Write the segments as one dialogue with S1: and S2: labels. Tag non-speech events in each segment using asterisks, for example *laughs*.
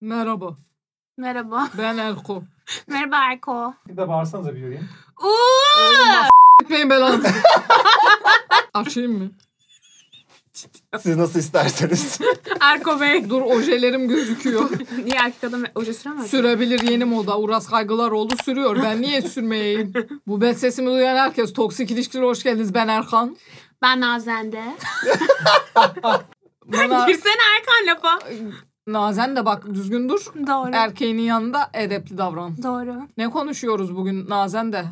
S1: Merhaba,
S2: Merhaba. *laughs*
S1: ben Erko.
S2: Merhaba Erko.
S3: Bir de bağırsanıza bir göreyim.
S2: Uuu.
S1: Etmeyin belanı. Açayım mı?
S4: Siz nasıl
S3: *laughs*
S4: isterseniz.
S2: Erko Bey.
S1: Dur ojelerim gözüküyor.
S2: *laughs* Niye erkek adam oje süremez?
S1: Sürebilir yeni moda. Uras Kaygılaroğlu sürüyor. Ben niye sürmeyeyim? Bu ben sesimi duyan herkes. Toksik ilişkiler hoş geldiniz. Ben Erkan.
S2: Ben Nazende.
S1: Bana
S2: Girsene Erkan lafa.
S1: Nazen de bak düzgün dur.
S2: Doğru.
S1: Erkeğinin yanında edepli davran.
S2: Doğru.
S1: Ne konuşuyoruz bugün Nazen de?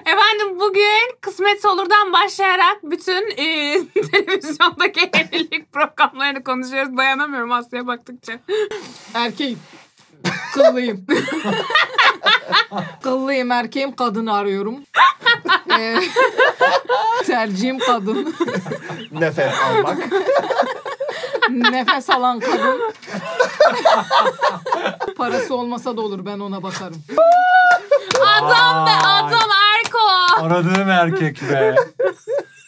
S2: Efendim bugün kısmetse olurdan başlayarak bütün e, *laughs* televizyondaki evlilik programlarını konuşuyoruz. Dayanamıyorum Asya'ya baktıkça.
S1: Erkeğim. Kıllıyım. Kıllıyım erkeğim kadını arıyorum. Ee, tercihim kadın.
S4: Nefes almak.
S1: Nefes alan kadın. Parası olmasa da olur ben ona bakarım.
S2: Adam be
S3: Vay.
S2: adam Erko.
S3: Aradığım erkek be.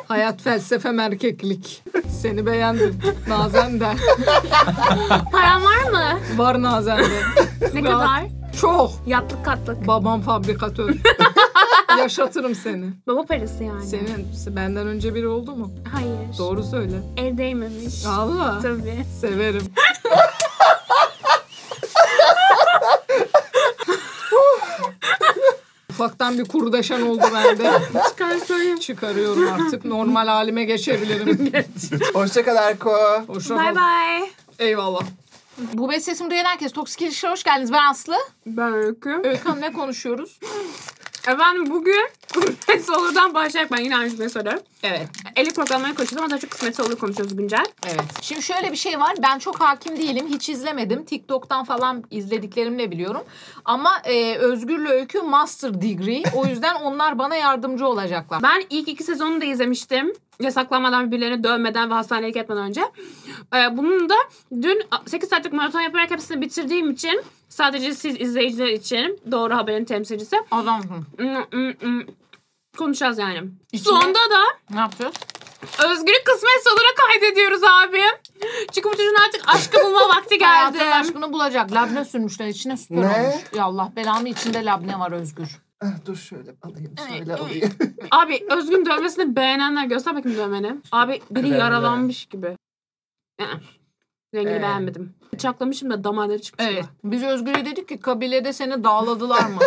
S1: Hayat felsefem erkeklik. Seni beğendim. Nazen de.
S2: Paran var mı?
S1: Var Nazen de.
S2: Ne
S1: Rahat.
S2: kadar?
S1: Çok.
S2: Yatlık katlık.
S1: Babam fabrikatör. Yaşatırım seni.
S2: Baba parası yani.
S1: Senin benden önce biri oldu mu?
S2: Hayır.
S1: Doğru söyle.
S2: El değmemiş.
S1: Allah.
S2: Tabii.
S1: Severim. Ufaktan bir kurdaşan oldu bende.
S2: Çıkar söyle.
S1: Çıkarıyorum artık. Normal halime *laughs* geçebilirim.
S4: *laughs* Hoşçakal Erko.
S1: Hoşça
S2: Bye
S1: kal.
S2: bye.
S1: Eyvallah. Bu ben sesimi duyan herkes. Toksik ilişkiler hoş geldiniz. Ben Aslı.
S2: Ben Öykü.
S1: Öykü ne konuşuyoruz?
S2: Efendim bugün *laughs* kısmetse olurdan başlayarak ben yine aynı şeyi söylüyorum.
S1: Evet.
S2: Eli programları konuşuyoruz ama daha çok kısmetse olur konuşuyoruz güncel.
S1: Evet. Şimdi şöyle bir şey var. Ben çok hakim değilim. Hiç izlemedim. TikTok'tan falan izlediklerimle biliyorum. Ama e, Özgür'le Öykü master degree. O yüzden onlar bana yardımcı olacaklar.
S2: Ben ilk iki sezonunu da izlemiştim. Yasaklanmadan birbirlerini dövmeden ve hastanelik etmeden önce. Ee, bunun da dün 8 saatlik maraton yaparak hepsini bitirdiğim için sadece siz izleyiciler için doğru haberin temsilcisi.
S1: Adamsın.
S2: Mm, mm, mm. Konuşacağız yani.
S1: İçine-
S2: Sonunda da
S1: Ne yapacağız?
S2: Özgürlük kısmetse olarak kaydediyoruz abi. Çünkü bu çocuğun artık aşkı bulma vakti geldi.
S1: Hayatın aşkını bulacak. Labne sürmüşler. içine süper
S4: Ne?
S1: olmuş. Ya Allah belamı içinde labne var Özgür.
S4: Ah, Dur şöyle alayım şöyle alayım.
S2: Abi Özgün dövmesini beğenenler göster bakayım dövmeni. Abi biri
S4: Beğendim.
S2: yaralanmış gibi. Ee, Rengini
S1: Ee.
S2: beğenmedim. Bıçaklamışım da damarları çıkmış.
S1: Evet.
S2: gibi.
S1: Biz Özgür'e dedik ki kabilede seni dağladılar *laughs* mı?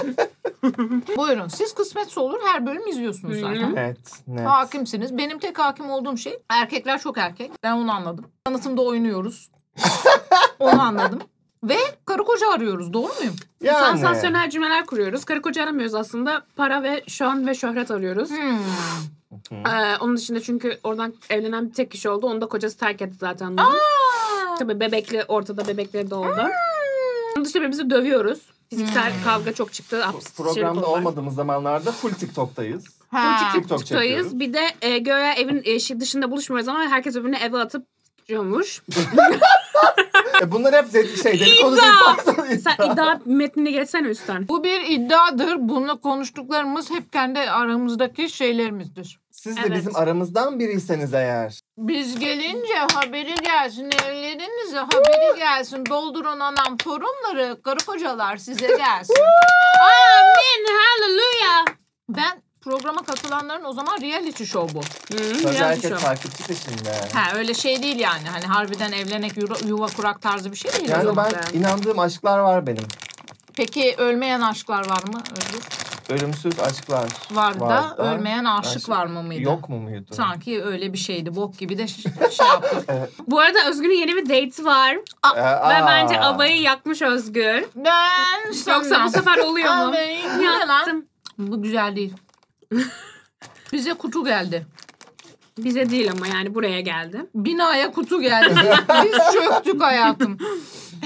S1: Buyurun. Siz kısmetse olur her bölüm izliyorsunuz zaten.
S4: evet. Ne?
S1: Hakimsiniz. Benim tek hakim olduğum şey erkekler çok erkek. Ben onu anladım. Tanıtımda oynuyoruz. onu anladım. Ve karı koca arıyoruz. Doğru muyum?
S2: Sansasyonel cümleler kuruyoruz. Karı koca aramıyoruz aslında. Para ve şan ve şöhret arıyoruz.
S1: Hmm.
S2: Ee, onun dışında çünkü oradan evlenen bir tek kişi oldu. Onu da kocası terk etti zaten. bunun. Tabii bebekli ortada bebekleri de oldu. Onun dışında birbirimizi dövüyoruz. Fiziksel
S1: Hmm.
S2: kavga çok çıktı. Hapis- şey
S4: Programda
S2: konular.
S4: olmadığımız zamanlarda full TikTok'tayız.
S1: Ha.
S2: Bu TikTok
S4: TikTok
S2: TikTok'tayız.
S4: çekiyoruz.
S2: Bir de e, göğe evin e, şey dışında buluşmuyoruz ama herkes birbirini eve atıp yiyormuş.
S4: E bunlar hep zed- şey dedikodu değil. *laughs*
S2: Sen iddia metnini geçsene üstten.
S1: Bu bir iddiadır. Bununla konuştuklarımız hep kendi aramızdaki şeylerimizdir.
S4: Siz de
S2: Evet.
S4: bizim aramızdan biriyseniz eğer.
S1: Biz gelince haberi gelsin evlerinize haberi gelsin. Doldurun anam forumları karı kocalar size gelsin.
S2: Amin. Hallelujah.
S1: Ben programa katılanların o zaman reality show bu.
S2: Hı,
S4: Sözde
S2: yanlış
S4: herkes
S2: yok.
S4: takipçi peşinde.
S1: Ha öyle şey değil yani. Hani harbiden evlenek yuva, yuva kurak tarzı bir şey değil. o
S4: Yani
S1: zaman.
S4: ben
S2: ben-
S4: inandığım aşklar var benim.
S1: Peki ölmeyen aşklar var mı? Özgür?
S4: Ölümsüz aşklar.
S1: Var, da
S4: Var da
S1: ölmeyen aşık,
S4: aşık
S1: var mı mıydı?
S4: Yok mu muydu?
S1: Sanki öyle bir şeydi. Bok gibi de ş- şey
S4: *laughs*
S1: yaptı.
S2: Bu arada Özgür'ün yeni bir date var.
S4: Ee,
S2: Ve
S4: aa.
S2: bence abayı yakmış Özgür.
S1: ben
S2: Yoksa bu
S1: sanmam.
S2: sefer oluyor mu?
S1: Abi, bu ne lan?
S2: Yaktım.
S1: Bu güzel değil. Bize kutu geldi.
S2: Bize değil ama yani buraya geldi.
S1: Binaya kutu geldi. *laughs* Biz çöktük hayatım.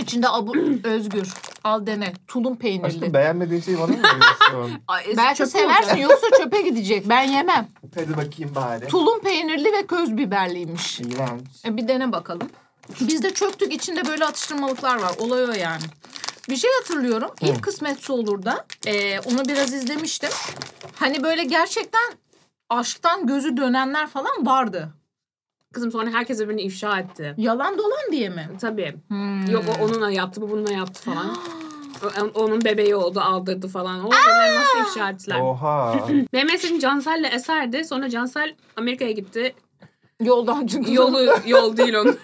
S1: İçinde abu, özgür. Al dene. Tulum peynirli.
S4: Aşkım beğenmediğin şeyi bana mı
S1: *laughs*
S4: veriyorsun?
S2: Ay,
S1: Belki
S2: çöp
S1: seversin
S2: olacak.
S1: yoksa çöpe gidecek. Ben yemem.
S4: Hadi bakayım bari.
S1: Tulum peynirli ve köz biberliymiş.
S4: İğrenç.
S1: E bir dene bakalım. Biz de çöktük içinde böyle atıştırmalıklar var. Olay o yani. Bir şey hatırlıyorum. İlk kısmetse olur da e, onu biraz izlemiştim. Hani böyle gerçekten aşktan gözü dönenler falan vardı.
S2: Kızım sonra herkes birbirini ifşa etti.
S1: Yalan dolan diye mi?
S2: Tabii.
S1: Hmm.
S2: Yok o onunla yaptı, bu bununla yaptı *gasps* falan. O- onun bebeği oldu, aldırdı falan. O bebeği nasıl ifşa ettiler?
S4: Oha.
S2: Benim meselim Cansel'le Eser'di. Sonra Cansel Amerika'ya gitti.
S1: Yoldan çünkü.
S2: Yolu yol değil onun.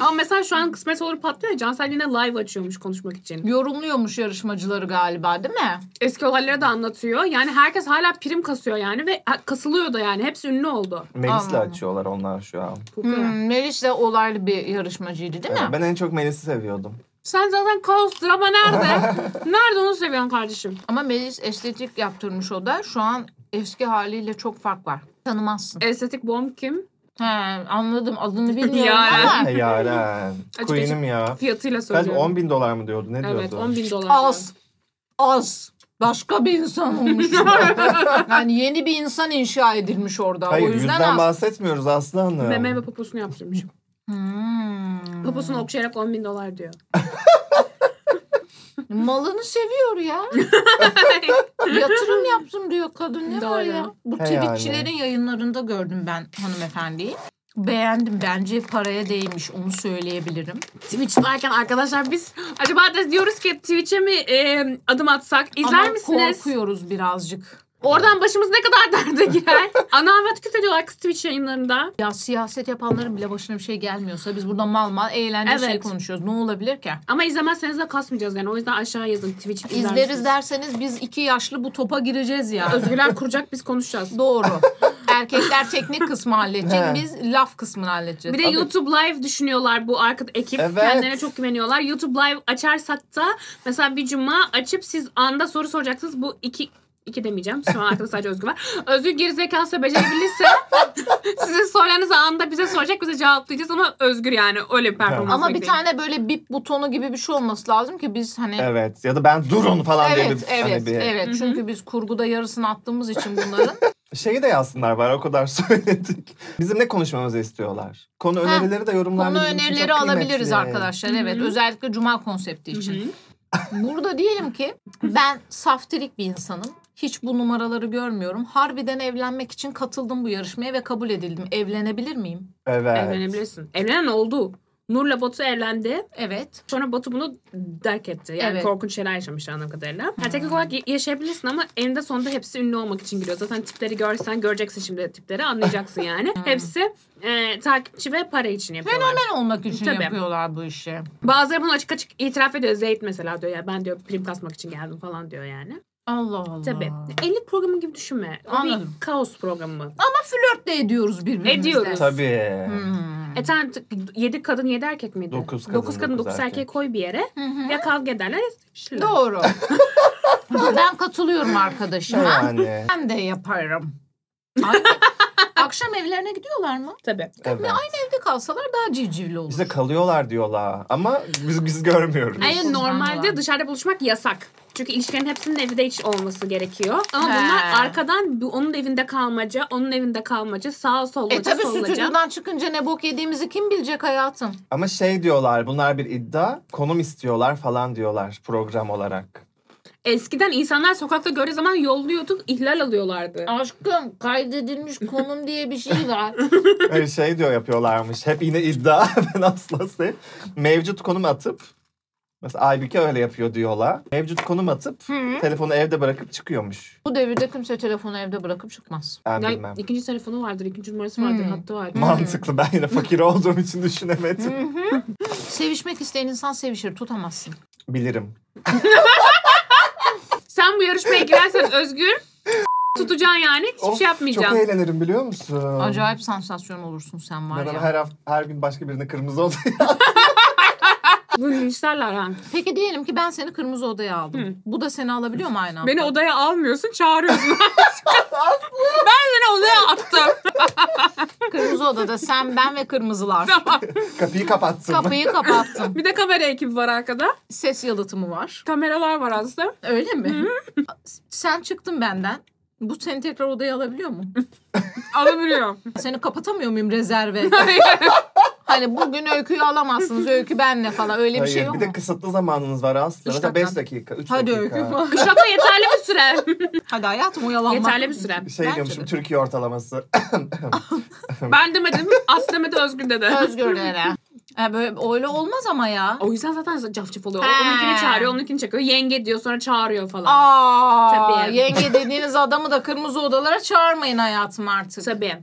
S2: Ama mesela şu an kısmet olur patlıyor. ya, Cansel yine live açıyormuş konuşmak için.
S1: Yorumluyormuş yarışmacıları galiba değil mi?
S2: Eski olayları da anlatıyor. Yani herkes hala prim kasıyor yani ve ha- kasılıyor da yani. Hepsi ünlü oldu.
S4: Melis'le
S1: Aman.
S4: açıyorlar onlar şu an.
S2: Fukara.
S1: Hmm, Meriç de olaylı bir yarışmacıydı değil mi?
S4: Evet, Ben en çok Melis'i seviyordum.
S2: Sen zaten kaos drama nerede? nerede onu seviyorsun kardeşim?
S1: Ama Melis estetik yaptırmış o da. Şu an eski haliyle çok fark var. Tanımazsın.
S2: Estetik bomb kim?
S1: He, anladım adını bilmiyorum
S2: Yani.
S1: ama
S4: E, Yaren.
S2: Açık
S4: Queen'im ya.
S2: Fiyatıyla
S4: Kaç
S2: söylüyorum.
S4: 10 bin dolar mı diyordu? Ne
S2: Evet
S4: diyordu?
S2: 10 bin dolar.
S1: *laughs* az. Az. Başka bir insan
S4: *laughs*
S1: olmuş. yani yeni bir insan inşa edilmiş orada.
S4: Hayır
S1: o yüzden
S4: yüzden
S1: az.
S4: bahsetmiyoruz Aslı Hanım.
S2: Meme ve poposunu yaptırmış.
S1: Hmm.
S2: Poposunu okşayarak 10 bin dolar diyor.
S1: Malını seviyor
S4: *laughs*
S1: ya. Yatırım yaptım diyor kadın. Ne var
S2: Doğru.
S1: ya? Bu
S4: He
S1: tweetçilerin yayınlarında gördüm ben hanımefendiyi. Beğendim. Bence paraya değmiş. Onu söyleyebilirim.
S2: Twitch'teyken arkadaşlar biz acaba da diyoruz ki Twitch'e mi e, adım atsak? İzler
S1: Ama
S2: misiniz?
S1: korkuyoruz birazcık.
S2: Oradan başımız ne kadar *laughs* derde girer? Ana avrat küfür ediyorlar kız Twitch yayınlarında.
S1: Ya siyaset yapanların bile başına bir şey gelmiyorsa biz burada mal mal eğlence
S2: Evet.
S1: şey konuşuyoruz. Ne olabilir ki?
S2: Ama izlemezseniz de kasmayacağız yani. O yüzden aşağı yazın Twitch izler
S1: İzleriz
S2: misiniz?
S1: derseniz biz iki yaşlı bu topa gireceğiz ya.
S2: Özgüler kuracak biz konuşacağız.
S1: Doğru. Erkekler teknik kısmı halledecek.
S4: He.
S1: Biz laf kısmını halledeceğiz.
S2: Bir de YouTube Live düşünüyorlar bu arka ekip.
S4: Evet.
S2: Kendilerine çok güveniyorlar. YouTube Live açarsak da mesela bir cuma açıp siz anda soru soracaksınız. Bu iki iki demeyeceğim. Şu an arkada sadece Özgür var. *laughs* Özgür gerizekası ve becerebilirse *laughs* sizin sorularınızı anda bize soracak. Bize cevaplayacağız ama Özgür yani öyle bir performans.
S1: Ama bir
S2: bekleyin.
S1: tane böyle bip butonu gibi bir şey olması lazım ki biz hani
S4: Evet ya da ben durun falan diye
S1: Evet,
S4: bir,
S1: evet,
S4: hani bir
S1: evet. Çünkü biz kurguda yarısını attığımız için bunların.
S4: şeyi de yazsınlar bari o kadar *laughs* söyledik. Bizim ne konuşmamızı istiyorlar? Konu önerileri de yorumlar.
S1: Konu
S4: bizim için çok
S1: önerileri alabiliriz
S4: kıymetli.
S1: arkadaşlar. Evet, özellikle cuma konsepti için. Burada diyelim ki ben saftirik bir insanım. Hiç bu numaraları görmüyorum. Harbiden evlenmek için katıldım bu yarışmaya ve kabul edildim. Evlenebilir miyim?
S4: Evet.
S2: Evlenebilirsin. Evlenen oldu. Nur'la Batu evlendi.
S1: Evet.
S2: Sonra Batu bunu terk etti. Yani
S1: Evet. Hmm.
S2: korkunç şeyler yaşamış anladığım kadarıyla. Yani teknik olarak ya- yaşayabilirsin ama eninde sonunda hepsi ünlü olmak için giriyor. Zaten tipleri görsen göreceksin şimdi
S1: *laughs*
S2: tipleri anlayacaksın yani.
S1: Hmm.
S2: hepsi e, takipçi ve para için yapıyorlar.
S1: Ben olmak için
S2: Tabii.
S1: yapıyorlar bu işi.
S2: Bazıları bunu açık açık itiraf ediyor. Zeyt mesela diyor ya ben diyor prim kasmak için geldim falan diyor yani.
S1: Allah Allah.
S2: Tabii. Evlilik programı gibi düşünme. O
S1: Anladım.
S2: bir kaos programı.
S1: Flört de ediyoruz birbirimizle.
S2: Ediyoruz.
S4: Tabii.
S1: Hmm.
S2: E sen t- yedi kadın yedi erkek miydi?
S4: Dokuz kadın,
S2: Dokuz kadın
S4: dokuz
S2: dokuz
S4: erkek.
S2: erkeği koy bir yere. Ya kavga ederler. ya sevişirler.
S1: Doğru. *laughs* ben katılıyorum arkadaşıma.
S4: Şey Yani.
S1: Ben de *laughs* yaparım. Ay, akşam evlerine gidiyorlar mı?
S2: Tabii.
S4: evet.
S1: Evde kalsalar daha civcivli olur.
S4: Bize kalıyorlar diyorlar ama biz biz görmüyoruz.
S1: Ay-
S2: Hayır
S1: Dokuz
S2: normalde
S1: tane var.
S2: dışarıda buluşmak yasak. Çünkü ilişkilerin hepsinin evde hiç olması gerekiyor. Ama
S1: He.
S2: bunlar arkadan bu- onun evinde kalmaca, onun evinde kalmaca, sağa sollaca,
S1: E tabi
S2: sollaca.
S1: stüdyodan çıkınca ne bok yediğimizi kim bilecek hayatım?
S4: Ama şey diyorlar bunlar bir iddia. Konum istiyorlar falan diyorlar program olarak.
S2: Eskiden insanlar sokakta gördüğü zaman yolluyorduk, ihlal alıyorlardı.
S1: Aşkım kaydedilmiş konum diye bir şey var.
S4: Öyle şey diyor yapıyorlarmış. Hep yine iddia. *laughs* ben asla sev. Mevcut konum atıp Mesela Aybüke öyle yapıyor diyorlar. Mevcut konum atıp telefonu evde bırakıp çıkıyormuş.
S1: *laughs* Bu devirde kimse telefonu evde bırakıp çıkmaz.
S4: Ben
S2: Yani
S4: bilmem.
S2: ikinci telefonu vardır, ikinci numarası vardır,
S1: Hmm.
S2: hattı vardır.
S4: Mantıklı. Ben yine fakir olduğum için düşünemedim.
S1: *laughs* Sevişmek isteyen insan sevişir tutamazsın.
S4: Bilirim.
S2: Sen bu yarışmaya girersen Özgür *laughs* tutacaksın yani hiçbir
S4: Of,
S2: şey yapmayacaksın.
S4: Çok eğlenirim biliyor musun?
S1: Acayip sansasyon olursun sen var
S4: Ben
S1: ya.
S4: her, hafta, her gün başka birine kırmızı oldu.
S2: Bunu linçlerler ha.
S1: Peki diyelim ki ben seni kırmızı odaya aldım. Bu da seni alabiliyor mu aynı anda?
S2: Beni odaya almıyorsun,
S4: *laughs*
S2: çağırıyorsun. ben seni odaya attım. *laughs*
S1: Kırmızı odada sen, ben ve kırmızılar.
S2: tamam.
S4: *laughs* Kapıyı kapattım.
S1: Kapıyı kapattım.
S2: Bir de kamera ekibi var arkada.
S1: Ses yalıtımı var.
S2: Kameralar var aslında.
S1: Öyle mi? sen çıktın benden. Bu seni tekrar odaya alabiliyor mu?
S2: *laughs* Alabiliyor.
S1: Seni kapatamıyor muyum rezerve? Hani bugün öyküyü alamazsınız. Öykü benle falan. Öyle bir
S4: Hayır,
S1: şey yok
S4: bir de
S1: mu?
S4: kısıtlı zamanınız var aslında.
S1: Üç
S4: Mesela
S1: dakika.
S4: 5 dakika, 3
S1: Hadi
S4: dakika.
S1: öykü.
S2: Kışlakta yeterli bir süre.
S1: Hadi hayatım oyalanma.
S2: yeterli bir süre.
S4: Şey
S1: Bence
S4: diyormuşum
S1: de.
S4: Türkiye ortalaması. *laughs*
S2: Ben demedim. Aslı demedi Özgür dedi.
S1: Özgürlere. Ha, böyle öyle olmaz ama ya.
S2: O yüzden zaten cafcaf oluyor.
S1: He.
S2: Onunkini çağırıyor, onunkini çekiyor. Yenge diyor sonra çağırıyor falan.
S1: Aa,
S2: Tabii.
S1: yenge dediğiniz adamı da kırmızı odalara çağırmayın hayatım artık.
S2: Tabii.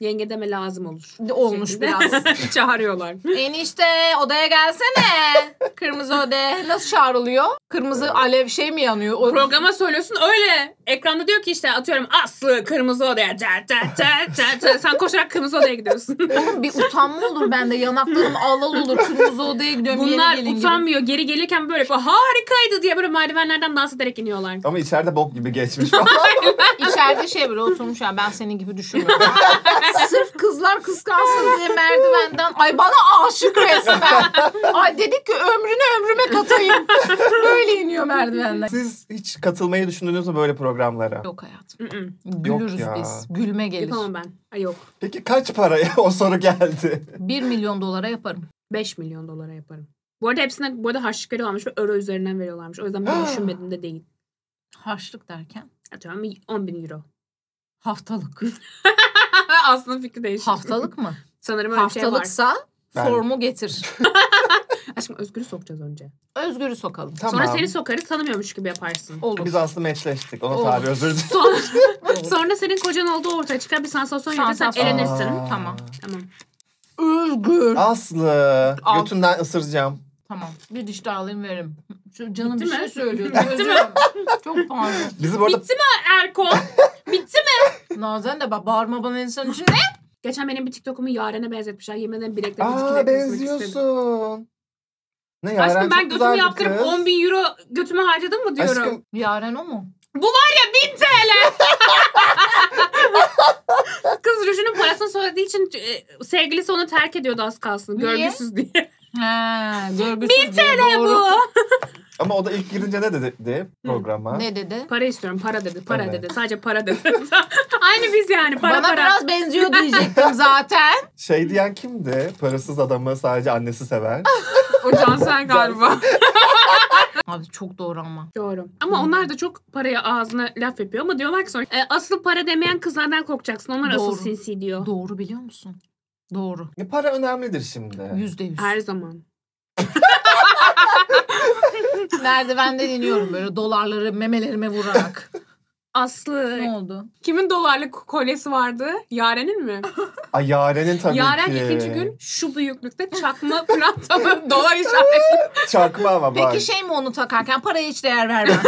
S2: Yenge deme lazım olur.
S1: Olmuş biraz.
S2: *laughs* Çağırıyorlar.
S1: Enişte odaya gelsene. Kırmızı odaya. Nasıl çağrılıyor? Kırmızı alev şey mi yanıyor? O...
S2: Programa söylüyorsun öyle. Ekranda diyor ki işte atıyorum Aslı kırmızı odaya. Der, der, der, der, der. Sen koşarak kırmızı odaya gidiyorsun.
S1: Oğlum bir utanma olur bende. Yanaklarım alal olur. Kırmızı odaya gidiyorum.
S2: Bunlar
S1: yeni gelin gibi.
S2: utanmıyor. Geri gelirken böyle yapıyor. Harikaydı diye böyle merdivenlerden dans ederek iniyorlar.
S4: Ama içeride bok gibi
S1: *laughs*
S4: geçmiş falan.
S1: İçeride şey böyle oturmuş ya ben senin gibi düşünmüyorum. Sırf kızlar kıskansın diye merdivenden ay bana aşık resmen. Ay dedik ki ömrünü ömrüme katayım. Böyle iniyor merdivenden.
S4: Siz hiç katılmayı düşündünüz mü böyle programlara?
S1: Yok hayatım.
S2: Mm, mm.
S1: Gülürüz
S4: ya.
S1: biz. Gülme gelir.
S2: Yapamam ben. Ay yok.
S4: Peki kaç paraya? *laughs* o soru geldi.
S1: 1 milyon dolara yaparım.
S2: 5 milyon dolara yaparım. Bu arada hepsine bu arada harçlıkları almış ve euro üzerinden veriyorlarmış. O yüzden
S4: *gasps*
S2: ben düşünmedim de değil.
S1: Harçlık derken
S2: Atıyorum 10 bin euro.
S1: haftalık.
S2: *laughs* Aslında fikri değişti. *laughs*
S1: Haftalık mı?
S2: Sanırım öyle bir şey
S1: Haftalıksa
S4: Ben-
S1: formu getir.
S2: var. Aşkım Özgür'ü sokacağız önce.
S1: Özgür'ü sokalım.
S4: Tamam.
S2: Sonra seni sokarız tanımıyormuş gibi yaparsın.
S1: Olur.
S4: Biz aslında meçleştik. Ona
S1: Olur.
S4: tabi özür dilerim.
S1: *laughs*
S2: Sonra,
S1: Olur.
S2: sonra senin kocan olduğu ortaya çıkar bir sansasyon yaratırsan
S1: Sansasyon.
S2: elenirsin.
S4: Aa.
S1: Tamam.
S2: Tamam.
S1: Özgür.
S4: Aslı.
S1: Al.
S4: Götünden ısıracağım.
S1: Tamam. Bir diş daha alayım veririm. Şu canım
S2: Bitti
S1: bir
S2: mi?
S1: şey söylüyordu.
S2: Bitti
S1: Özür
S2: mi?
S1: dilerim. Çok pardon.
S4: Bizi bu arada
S2: Bitti mi
S4: *laughs*
S2: Erkon? Bitti mi?
S1: Nazan da bak bağırma bana insan için ne?
S2: Geçen benim bir TikTok'umu Yaren'e benzetmişler. Yemin ederim bileklerimi
S4: Aa
S2: tikilek istedim.
S4: benziyorsun. Ne ya?
S2: Aşkım
S4: Eren
S2: ben
S4: çok güzel
S2: götümü
S4: bir
S2: yaptırıp
S4: kız.
S2: 10 bin euro götüme harcadım mı diyorum.
S4: Aşkım
S1: Yaren o mu?
S2: Bu var ya 1000 TL. *laughs* Kız rujunun parasını söylediği için e, sevgilisi onu terk ediyordu az kalsın.
S1: Niye?
S2: Görgüsüz diye. *laughs*
S1: He, görgüsüz Bir
S2: Ne bu?
S4: ama o da ilk girince ne dedi, dedi programa?
S1: Ne dedi?
S2: Para istiyorum. Para dedi. Para
S4: Evet.
S2: dedi. Sadece para dedi. *laughs* Aynı biz yani. Para
S1: bana
S2: para.
S1: biraz benziyor
S4: *laughs*
S1: diyecektim zaten.
S4: Şey diyen kimdi? Parasız adamı sadece annesi sever.
S2: O Cansel galiba.
S1: Abi çok doğru ama.
S2: Doğru. Ama onlar da çok paraya ağzına laf yapıyor ama diyorlar ki sonra e, asıl para demeyen kızlardan korkacaksın. Onlar asıl
S1: Doğru.
S2: sinsi diyor.
S1: Doğru biliyor musun? Doğru.
S4: E, Para önemlidir şimdi.
S1: Yüzde yüz.
S2: Her zaman.
S1: Merdivenden iniyorum böyle dolarları memelerime vurarak.
S2: *laughs* Aslı.
S1: ne oldu?
S2: Kimin dolarlık kolyesi vardı? Yaren'in mi?
S4: Ay Yaren'in tabii
S2: Yaren
S4: ki.
S2: ikinci gün şu büyüklükte çakma *laughs* prantalı dolar işareti.
S4: Çakma ama bak.
S1: Peki şey mi onu takarken paraya hiç değer vermem.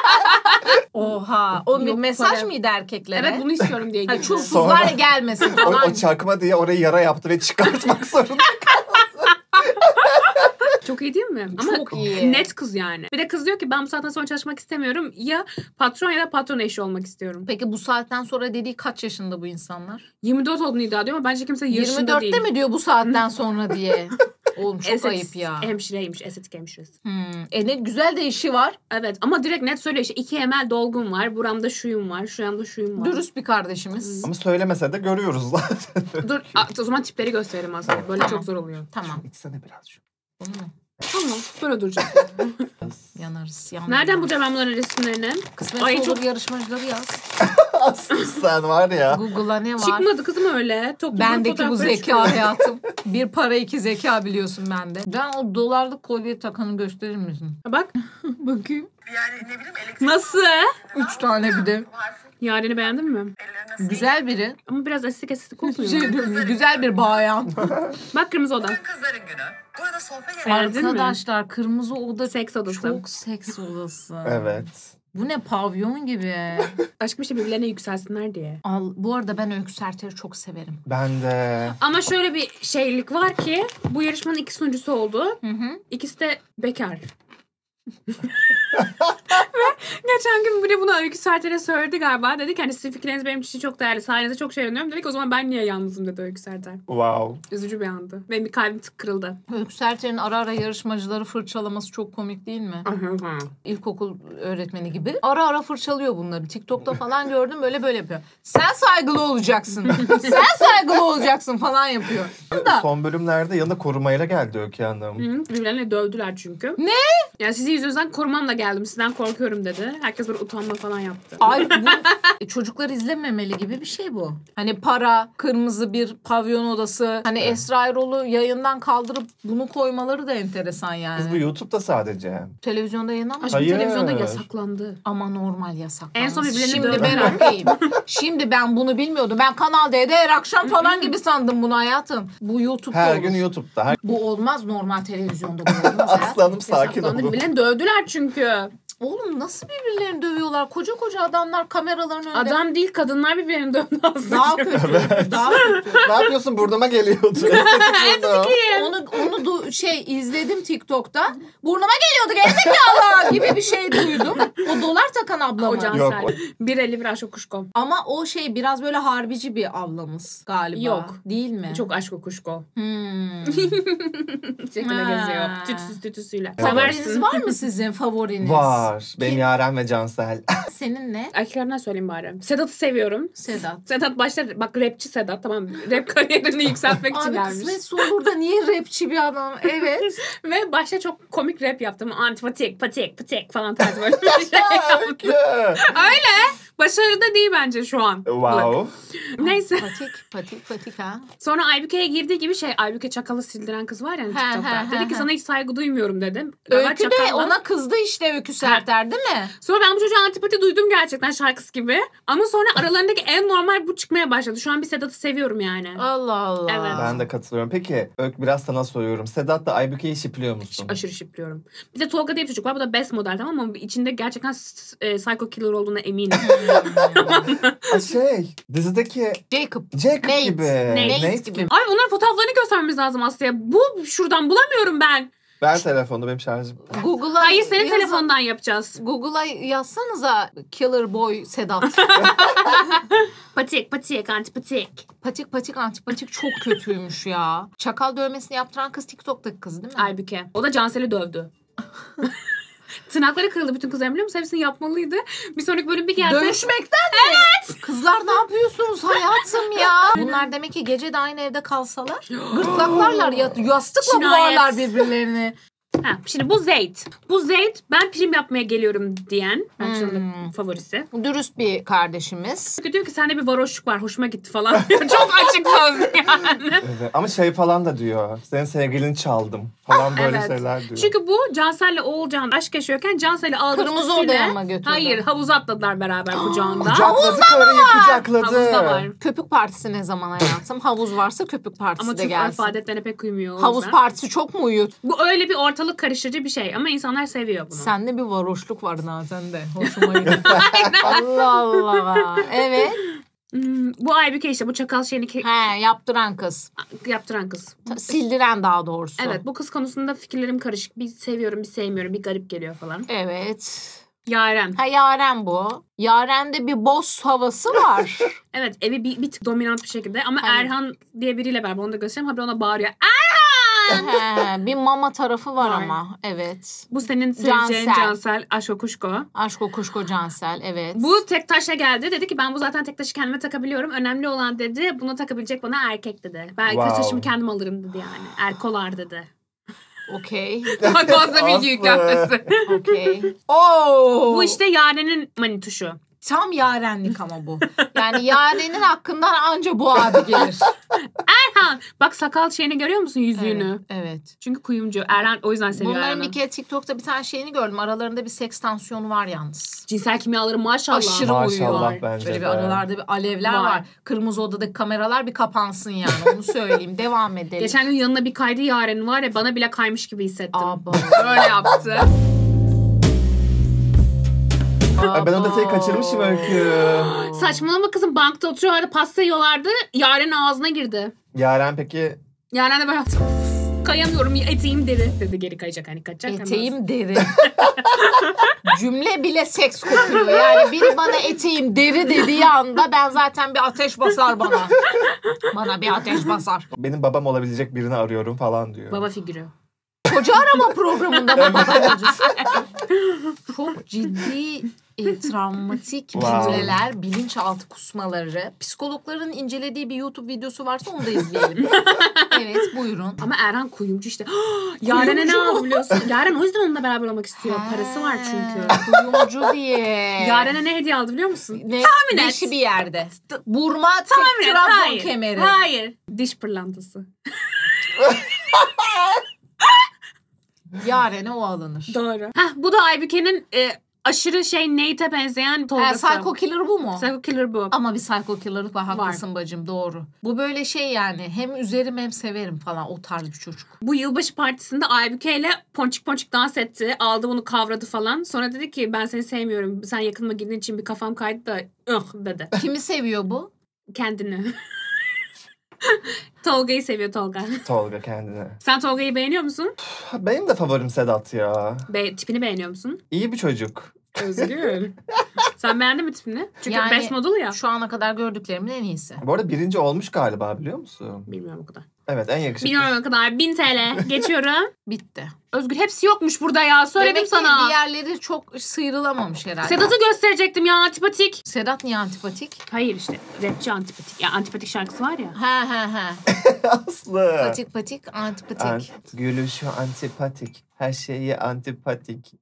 S2: *laughs*
S1: Oha. O bir
S2: Yok,
S1: mesaj
S2: para-
S1: mıydı erkeklere?
S2: Evet bunu istiyorum diye
S1: Hani
S2: girdi.
S1: çulsuzlar ya gelmesin
S2: *laughs*
S4: O,
S1: falan.
S4: o çakma diye orayı yara yaptı ve çıkartmak *laughs* zorunda.
S2: Çok iyi değil mi? Ama
S1: Çok iyi.
S2: net kız yani. Bir de kız diyor ki ben bu saatten sonra çalışmak istemiyorum. Ya patron ya da patron eşi olmak istiyorum.
S1: Peki bu saatten sonra dediği kaç yaşında bu insanlar?
S2: 24 olduğunu iddia ediyor ama bence kimse yaşında
S1: 24'te
S2: değil.
S1: mi diyor bu
S2: *laughs*
S1: saatten sonra diye? Oğlum çok
S2: Estetik
S1: ayıp ya.
S2: Hemşireymiş, estetik hemşiresi.
S1: Hmm. E ne güzel de işi var.
S2: Evet ama direkt net söylüyor işte 2 ml dolgum var, buramda şuyum var, şuramda şuyum var.
S1: Dürüst bir kardeşimiz.
S4: ama söylemese de görüyoruz zaten. *laughs*
S2: Dur a- o zaman tipleri gösterelim aslında. Böyle çok zor oluyor.
S1: Tamam.
S4: İçsene biraz şu.
S1: Bunu mu?
S2: Tamam böyle duracak.
S1: Yanarız. yandık.
S2: Nereden bulacağım ben bunların resimlerini?
S1: Kısmet
S2: Ay,
S1: olur
S2: çok-
S1: yarışmacıları yaz.
S4: Aslı sen var ya.
S1: Google'a ne var?
S2: Çıkmadı kızım öyle. Toplu
S1: Bendeki bu
S2: fotoğrafları
S1: zeka
S2: çıkıyor.
S1: hayatım. Bir para iki zeka biliyorsun bende. Ben o dolarlık kolye takanı gösterir misin?
S2: Bak
S1: Bakayım.
S2: nasıl?
S1: Üç tane bir de.
S2: Yaren'i beğendin mi?
S1: Güzel biri.
S2: Ama biraz estetik estetik
S1: Şey
S2: kokmuyor.
S1: diyorum, güzel bir bayan.
S2: Bak kırmızı oda.
S5: Kızların günü. Burada sohbet eden
S2: Erdin mi?
S1: Arkadaşlar kırmızı oda
S2: Seks odası.
S1: çok seks odası.
S4: Evet.
S1: Bu ne pavyon gibi.
S2: Aşkım işte şey birbirlerine yükselsinler diye.
S1: Al, bu arada ben öksürteri çok severim.
S4: Ben de.
S2: Ama şöyle bir şeylik var ki bu yarışmanın iki sunucusu oldu. *laughs*
S1: Hı hı.
S2: İkisi de bekar. Geçen gün biri bunu Öykü Sertel'e söyledi galiba. Dedi ki hani sizin fikirleriniz benim için çok değerli. Sayenizde çok şey öğreniyorum. Dedi ki o zaman ben niye yalnızım dedi Öykü Sertel.
S4: Wow.
S2: Üzücü bir andı. Benim bir kalbim tık kırıldı.
S1: Öykü Sertel'in ara ara yarışmacıları fırçalaması çok komik değil mi? İlkokul öğretmeni gibi. Ara ara fırçalıyor bunları. TikTok'ta falan gördüm böyle böyle yapıyor. Sen saygılı olacaksın. Sen saygılı olacaksın falan yapıyor. Da.
S4: Son bölümlerde yanında korumayla geldi Öykü Hanım.
S2: Hı, Birbirlerine dövdüler çünkü.
S1: Ne?
S2: Ya sizi yüzünüzden korumamla geldim. Sizden korkuyorum dedi. Herkes böyle utanma falan yaptı.
S1: Ay bu e, çocuklar izlememeli gibi bir şey bu. Hani para, kırmızı bir pavyon odası. Hani Esra Erol'u yayından kaldırıp bunu koymaları da enteresan
S4: Kız bu
S1: yani.
S4: YouTube'da sadece.
S1: Televizyonda yayınlanmaz.
S2: Aşkım
S4: Hayır.
S2: televizyonda yasaklandı.
S1: Ama normal yasak.
S2: En son birbirlerini
S1: Şimdi
S2: dövdüler.
S1: ben okeyim. Şimdi ben bunu bilmiyordum. Ben Kanal D'de her akşam falan gibi sandım bunu hayatım. Bu YouTube'da
S4: Her
S1: olur.
S4: gün YouTube'da. Her...
S1: Bu olmaz normal televizyonda. Bu olmaz hayatım.
S4: Aslanım sakin
S2: Yasaklandı.
S4: olun.
S2: Birbirlerini dövdüler çünkü.
S1: Oğlum nasıl birbirlerini dövüyorlar? Koca koca adamlar kameraların önünde.
S2: Adam değil kadınlar birbirlerini dövdü aslında.
S1: daha kötü. Daha
S4: *laughs*
S1: kötü.
S4: ne yapıyorsun? Burnuma geliyordu. Estetik burnu.
S1: onu onu du- şey izledim TikTok'ta. Burnuma geliyordu gerizekalı *laughs* gibi bir şey duydum. O dolar takan abla mı?
S2: O Cansel.
S4: Yok, o-
S2: Bir eli bir aşk okuşko.
S1: Ama o şey biraz böyle harbici bir ablamız galiba.
S2: Yok.
S1: Değil mi?
S2: Çok aşk okuşko.
S1: Hmm.
S2: Şekilde
S1: Ha.
S2: geziyor. Tütsüz tütüsüyle.
S1: Favoriniz
S2: Seversiniz
S1: var mı sizin favoriniz?
S4: Var. Benim
S1: Kim?
S4: Yaren ve Cansel. *laughs*
S1: Senin ne?
S2: Erkeklerinden söyleyeyim bari. Sedat'ı seviyorum.
S1: Sedat.
S2: Sedat başta bak rapçi Sedat tamam mı? Rap kariyerini *laughs* yükseltmek için
S1: Abi
S2: gelmiş.
S1: kısmet olur da niye rapçi bir adam? Evet.
S2: Ve başta çok komik rap yaptım. Antipatik, patik, patik falan
S1: *laughs*
S2: tarzı böyle *laughs* bir şey yaptım.
S4: Öykü.
S2: Başarıda değil bence şu an.
S4: wow.
S2: Neyse.
S1: patik patik patik ha.
S2: Sonra Aybüke'ye girdiği gibi şey Aybüke Çakal'ı sildiren kız var ya hani
S1: He,
S2: TikTok'ta.
S1: he,
S2: Dedi
S1: he,
S2: ki
S1: he.
S2: sana hiç saygı duymuyorum dedim. Galiba
S1: Öykü de
S2: Çakal'la-
S1: ona kızdı işte Öykü Serter değil mi?
S2: Sonra ben bu çocuğa antipati duydum gerçekten şarkısı gibi.
S1: *laughs*
S2: Ama sonra aralarındaki en normal bu çıkmaya başladı. Şu an bir Sedat'ı seviyorum yani.
S1: Allah Allah.
S2: Evet.
S4: Ben de katılıyorum. Peki Öykü biraz sana soruyorum. Sedat'la Aybüke'yi şipliyor musun?
S2: Aşırı şipliyorum. Bir de Tolga diye bir çocuk var. Bu da best model tamam mı? İçinde gerçekten s- e, psycho killer olduğuna
S1: *laughs*
S2: eminim.
S4: Aa, şey dizideki
S1: Jacob.
S4: Jacob
S1: Nate.
S4: gibi.
S1: Nate gibi.
S4: gibi.
S2: Abi onların fotoğraflarını göstermemiz lazım Aslı'ya. Bu şuradan bulamıyorum ben.
S4: Ver telefonu benim şarjım.
S1: Google'a
S2: Hayır senin
S1: yazın.
S2: telefondan yapacağız.
S1: Google'a yazsanıza Killer Boy Sedat. *laughs*
S2: Patik patik antipatik.
S1: patik patik antipatik çok kötüymüş ya. Çakal dövmesini yaptıran kız TikTok'taki kız değil mi?
S2: Aybüke. O da
S1: *laughs*
S2: Cansel'i dövdü. Tırnakları kırıldı bütün kızların biliyor musun? Hepsini yapmalıydı. Bir sonraki bölüm bir geldi.
S1: Dövüşmekten mi? Evet. Kızlar ne yapıyorsunuz hayatım *laughs* ya? Bunlar demek ki gece de aynı evde *gasps* kalsalar gırtlaklarlar ya yastıkla
S2: Cinayet.
S1: bularlar birbirlerini.
S2: Ha, şimdi bu Zeyt. Bu Zeyt ben prim yapmaya geliyorum diyen. Ben
S1: Hmm.
S2: favorisi.
S1: Dürüst bir kardeşimiz.
S2: Çünkü diyor ki sende bir varoşluk var hoşuma gitti falan. *laughs* Çok açık sözlü
S1: *laughs*
S2: yani.
S4: Evet. Ama şey falan da diyor. Senin sevgilini çaldım falan böyle
S2: evet.
S4: şeyler diyor.
S2: Çünkü bu Cansel'le Oğulcan aşk yaşıyorken Cansel'i aldı
S1: Kırmızı
S2: tutusuyla-
S1: odaya mı götürdü?
S2: Hayır havuza atladılar beraber
S1: *gasps*
S2: kucağında.
S4: kucakladı karıyı kucakladı.
S2: Havuz da var.
S1: Köpük partisi ne zaman hayatım? Havuz varsa köpük partisi
S2: Ama
S1: de
S2: Türk
S1: gelsin.
S2: örf adetlerine pek uymuyor. o
S1: Havuz
S2: yüzden.
S1: partisi çok mu uyut?
S2: Bu öyle bir ortalık karıştırıcı bir şey ama insanlar seviyor bunu.
S1: Sende bir varoşluk var Nazan de. Hoşuma
S2: *laughs*
S1: gitti. Allah Allah. Evet.
S2: Hmm, bu Aybüke işte bu çakal şeyini ke-
S1: He yaptıran kız.
S2: yaptıran kız.
S1: Ta- Sildiren daha doğrusu.
S2: Evet bu kız konusunda fikirlerim karışık. Bir seviyorum bir sevmiyorum bir garip geliyor falan.
S1: Evet.
S2: Yaren.
S1: Ha Yaren bu. Yaren'de bir boss havası
S2: *laughs*
S1: var.
S2: Evet evi bir, bir tık dominant bir şekilde ama
S1: Aynen.
S2: Erhan diye biriyle beraber onu da göstereyim. Habire ona bağırıyor. "Aa,
S1: He, bir mama tarafı var
S2: Var.
S1: ama. Evet.
S2: Bu senin seveceğin
S1: Cansel.
S2: Cansel Aşko Kuşko.
S1: Aşk o kuşko Cansel. Evet.
S2: Bu tek taşla geldi. Dedi ki ben bu zaten tek taşı kendime takabiliyorum. Önemli olan dedi bunu takabilecek bana erkek dedi. Ben
S4: Wow.
S2: tek taşımı kendim alırım dedi yani. Erkolar dedi.
S4: *laughs*
S1: Okey.
S2: Bak fazla
S4: Aslı.
S2: bilgi yüklenmesi. *laughs*
S1: Okey. Oo.
S2: Bu işte Yaren'in manituşu.
S1: tam yarenlik ama bu. Yani yarenin hakkından anca bu abi
S2: *laughs*
S1: gelir.
S2: Erhan bak sakal şeyini görüyor musun yüzüğünü?
S1: Evet. evet.
S2: Çünkü kuyumcu. Erhan o yüzden seviyor
S1: Bunların
S2: Erhan'ı.
S1: bir kere TikTok'ta bir tane şeyini gördüm. Aralarında bir seks tansiyonu var yalnız.
S2: Cinsel kimyaları maşallah.
S1: Aşırı
S4: Maşallah
S1: uyuyor.
S4: bence
S1: Böyle bir
S4: de.
S1: aralarda bir alevler
S2: Var.
S1: var. Kırmızı odadaki kameralar bir kapansın yani. Onu *laughs* söyleyeyim. Devam edelim.
S2: Geçen gün yanına bir kaydı Yaren var ya bana bile kaymış gibi hissettim.
S1: Abo.
S2: Böyle
S1: *laughs*
S2: yaptı.
S4: Ay, ben o detayı kaçırmışım Öykü.
S2: Saçmalama kızım bankta oturuyorlardı pasta yiyorlardı. Yaren ağzına girdi.
S4: Yaren peki
S2: Yaren de böyle yaptı. Kayamıyorum eteğim deri dedi geri kayacak hani kaçacak. ama-
S1: Eteğim deri. *laughs* Cümle bile seks kokuyor. Yani biri bana eteğim deri dediği anda ben zaten bir ateş basar bana. Bana bir ateş basar.
S4: Benim babam olabilecek birini arıyorum falan diyor.
S2: Baba figürü.
S1: Koca arama programında *laughs* baba babacısı. Çok ciddi e, travmatik
S4: Wow.
S1: cümleler, bilinçaltı kusmaları. Psikologların incelediği bir YouTube videosu varsa onu da *laughs* izleyelim. evet buyurun.
S2: Ama Erhan kuyumcu işte. *gasps* Yaren'e ne
S1: Kuyumcu mu? *laughs*
S2: yapabiliyorsun? Yaren o yüzden onunla beraber olmak istiyor. Parası var çünkü.
S1: Ha, Kuyumcu diye.
S2: Yaren'e ne hediye aldı biliyor musun?
S1: ne,
S2: et.
S1: Beşi bir yerde. Burma Tahmin
S2: Evet,
S1: Trabzon kemeri.
S2: Hayır. Diş pırlantası.
S1: Yarene o alınır.
S2: Doğru. Hah, bu da Aybüke'nin e, aşırı şey Nate'e benzeyen
S1: Ha,
S2: tolgası.
S1: psycho killer bu mu?
S2: Psycho killer bu.
S1: Ama bir psycho killer'ı var haklısın bacım doğru. Bu böyle şey yani hem üzerim hem severim falan o tarz bir çocuk.
S2: Bu yılbaşı partisinde Aybüke ile ponçik ponçik dans etti. Aldı bunu kavradı falan. Sonra dedi ki ben seni sevmiyorum. Sen yakınıma girdiğin için bir kafam kaydı da ıh dedi.
S1: Kimi seviyor bu?
S2: Kendini. *laughs* Tolga'yı seviyor Tolga.
S4: Tolga kendine.
S2: Sen Tolga'yı beğeniyor musun?
S4: Ha, Benim de favorim Sedat ya.
S2: Be- tipini beğeniyor musun?
S4: İyi bir çocuk.
S2: Özgür. *laughs* Sen beğendin mi tipini? Çünkü
S1: Yani-
S2: best model ya.
S1: Şu ana kadar gördüklerimin en iyisi.
S4: Bu arada birinci olmuş galiba biliyor musun?
S2: Bilmiyorum o kadar.
S4: Evet en yakışıklı.
S2: Bilmiyorum o kadar. 1000 TL. Geçiyorum.
S1: Bitti.
S2: Özgür hepsi yokmuş burada ya. Söyledim
S1: Demek ki
S2: sana.
S1: diğerleri çok sıyrılamamış herhalde. Sedat,
S2: Sedat'ı gösterecektim ya antipatik.
S1: Sedat niye antipatik?
S2: Hayır işte rapçi antipatik. Ya antipatik şarkısı var ya.
S1: Ha ha ha.
S4: şey Aslı.
S1: Patik patik antipatik.
S4: An- gülüşü antipatik. Her şeyi antipatik.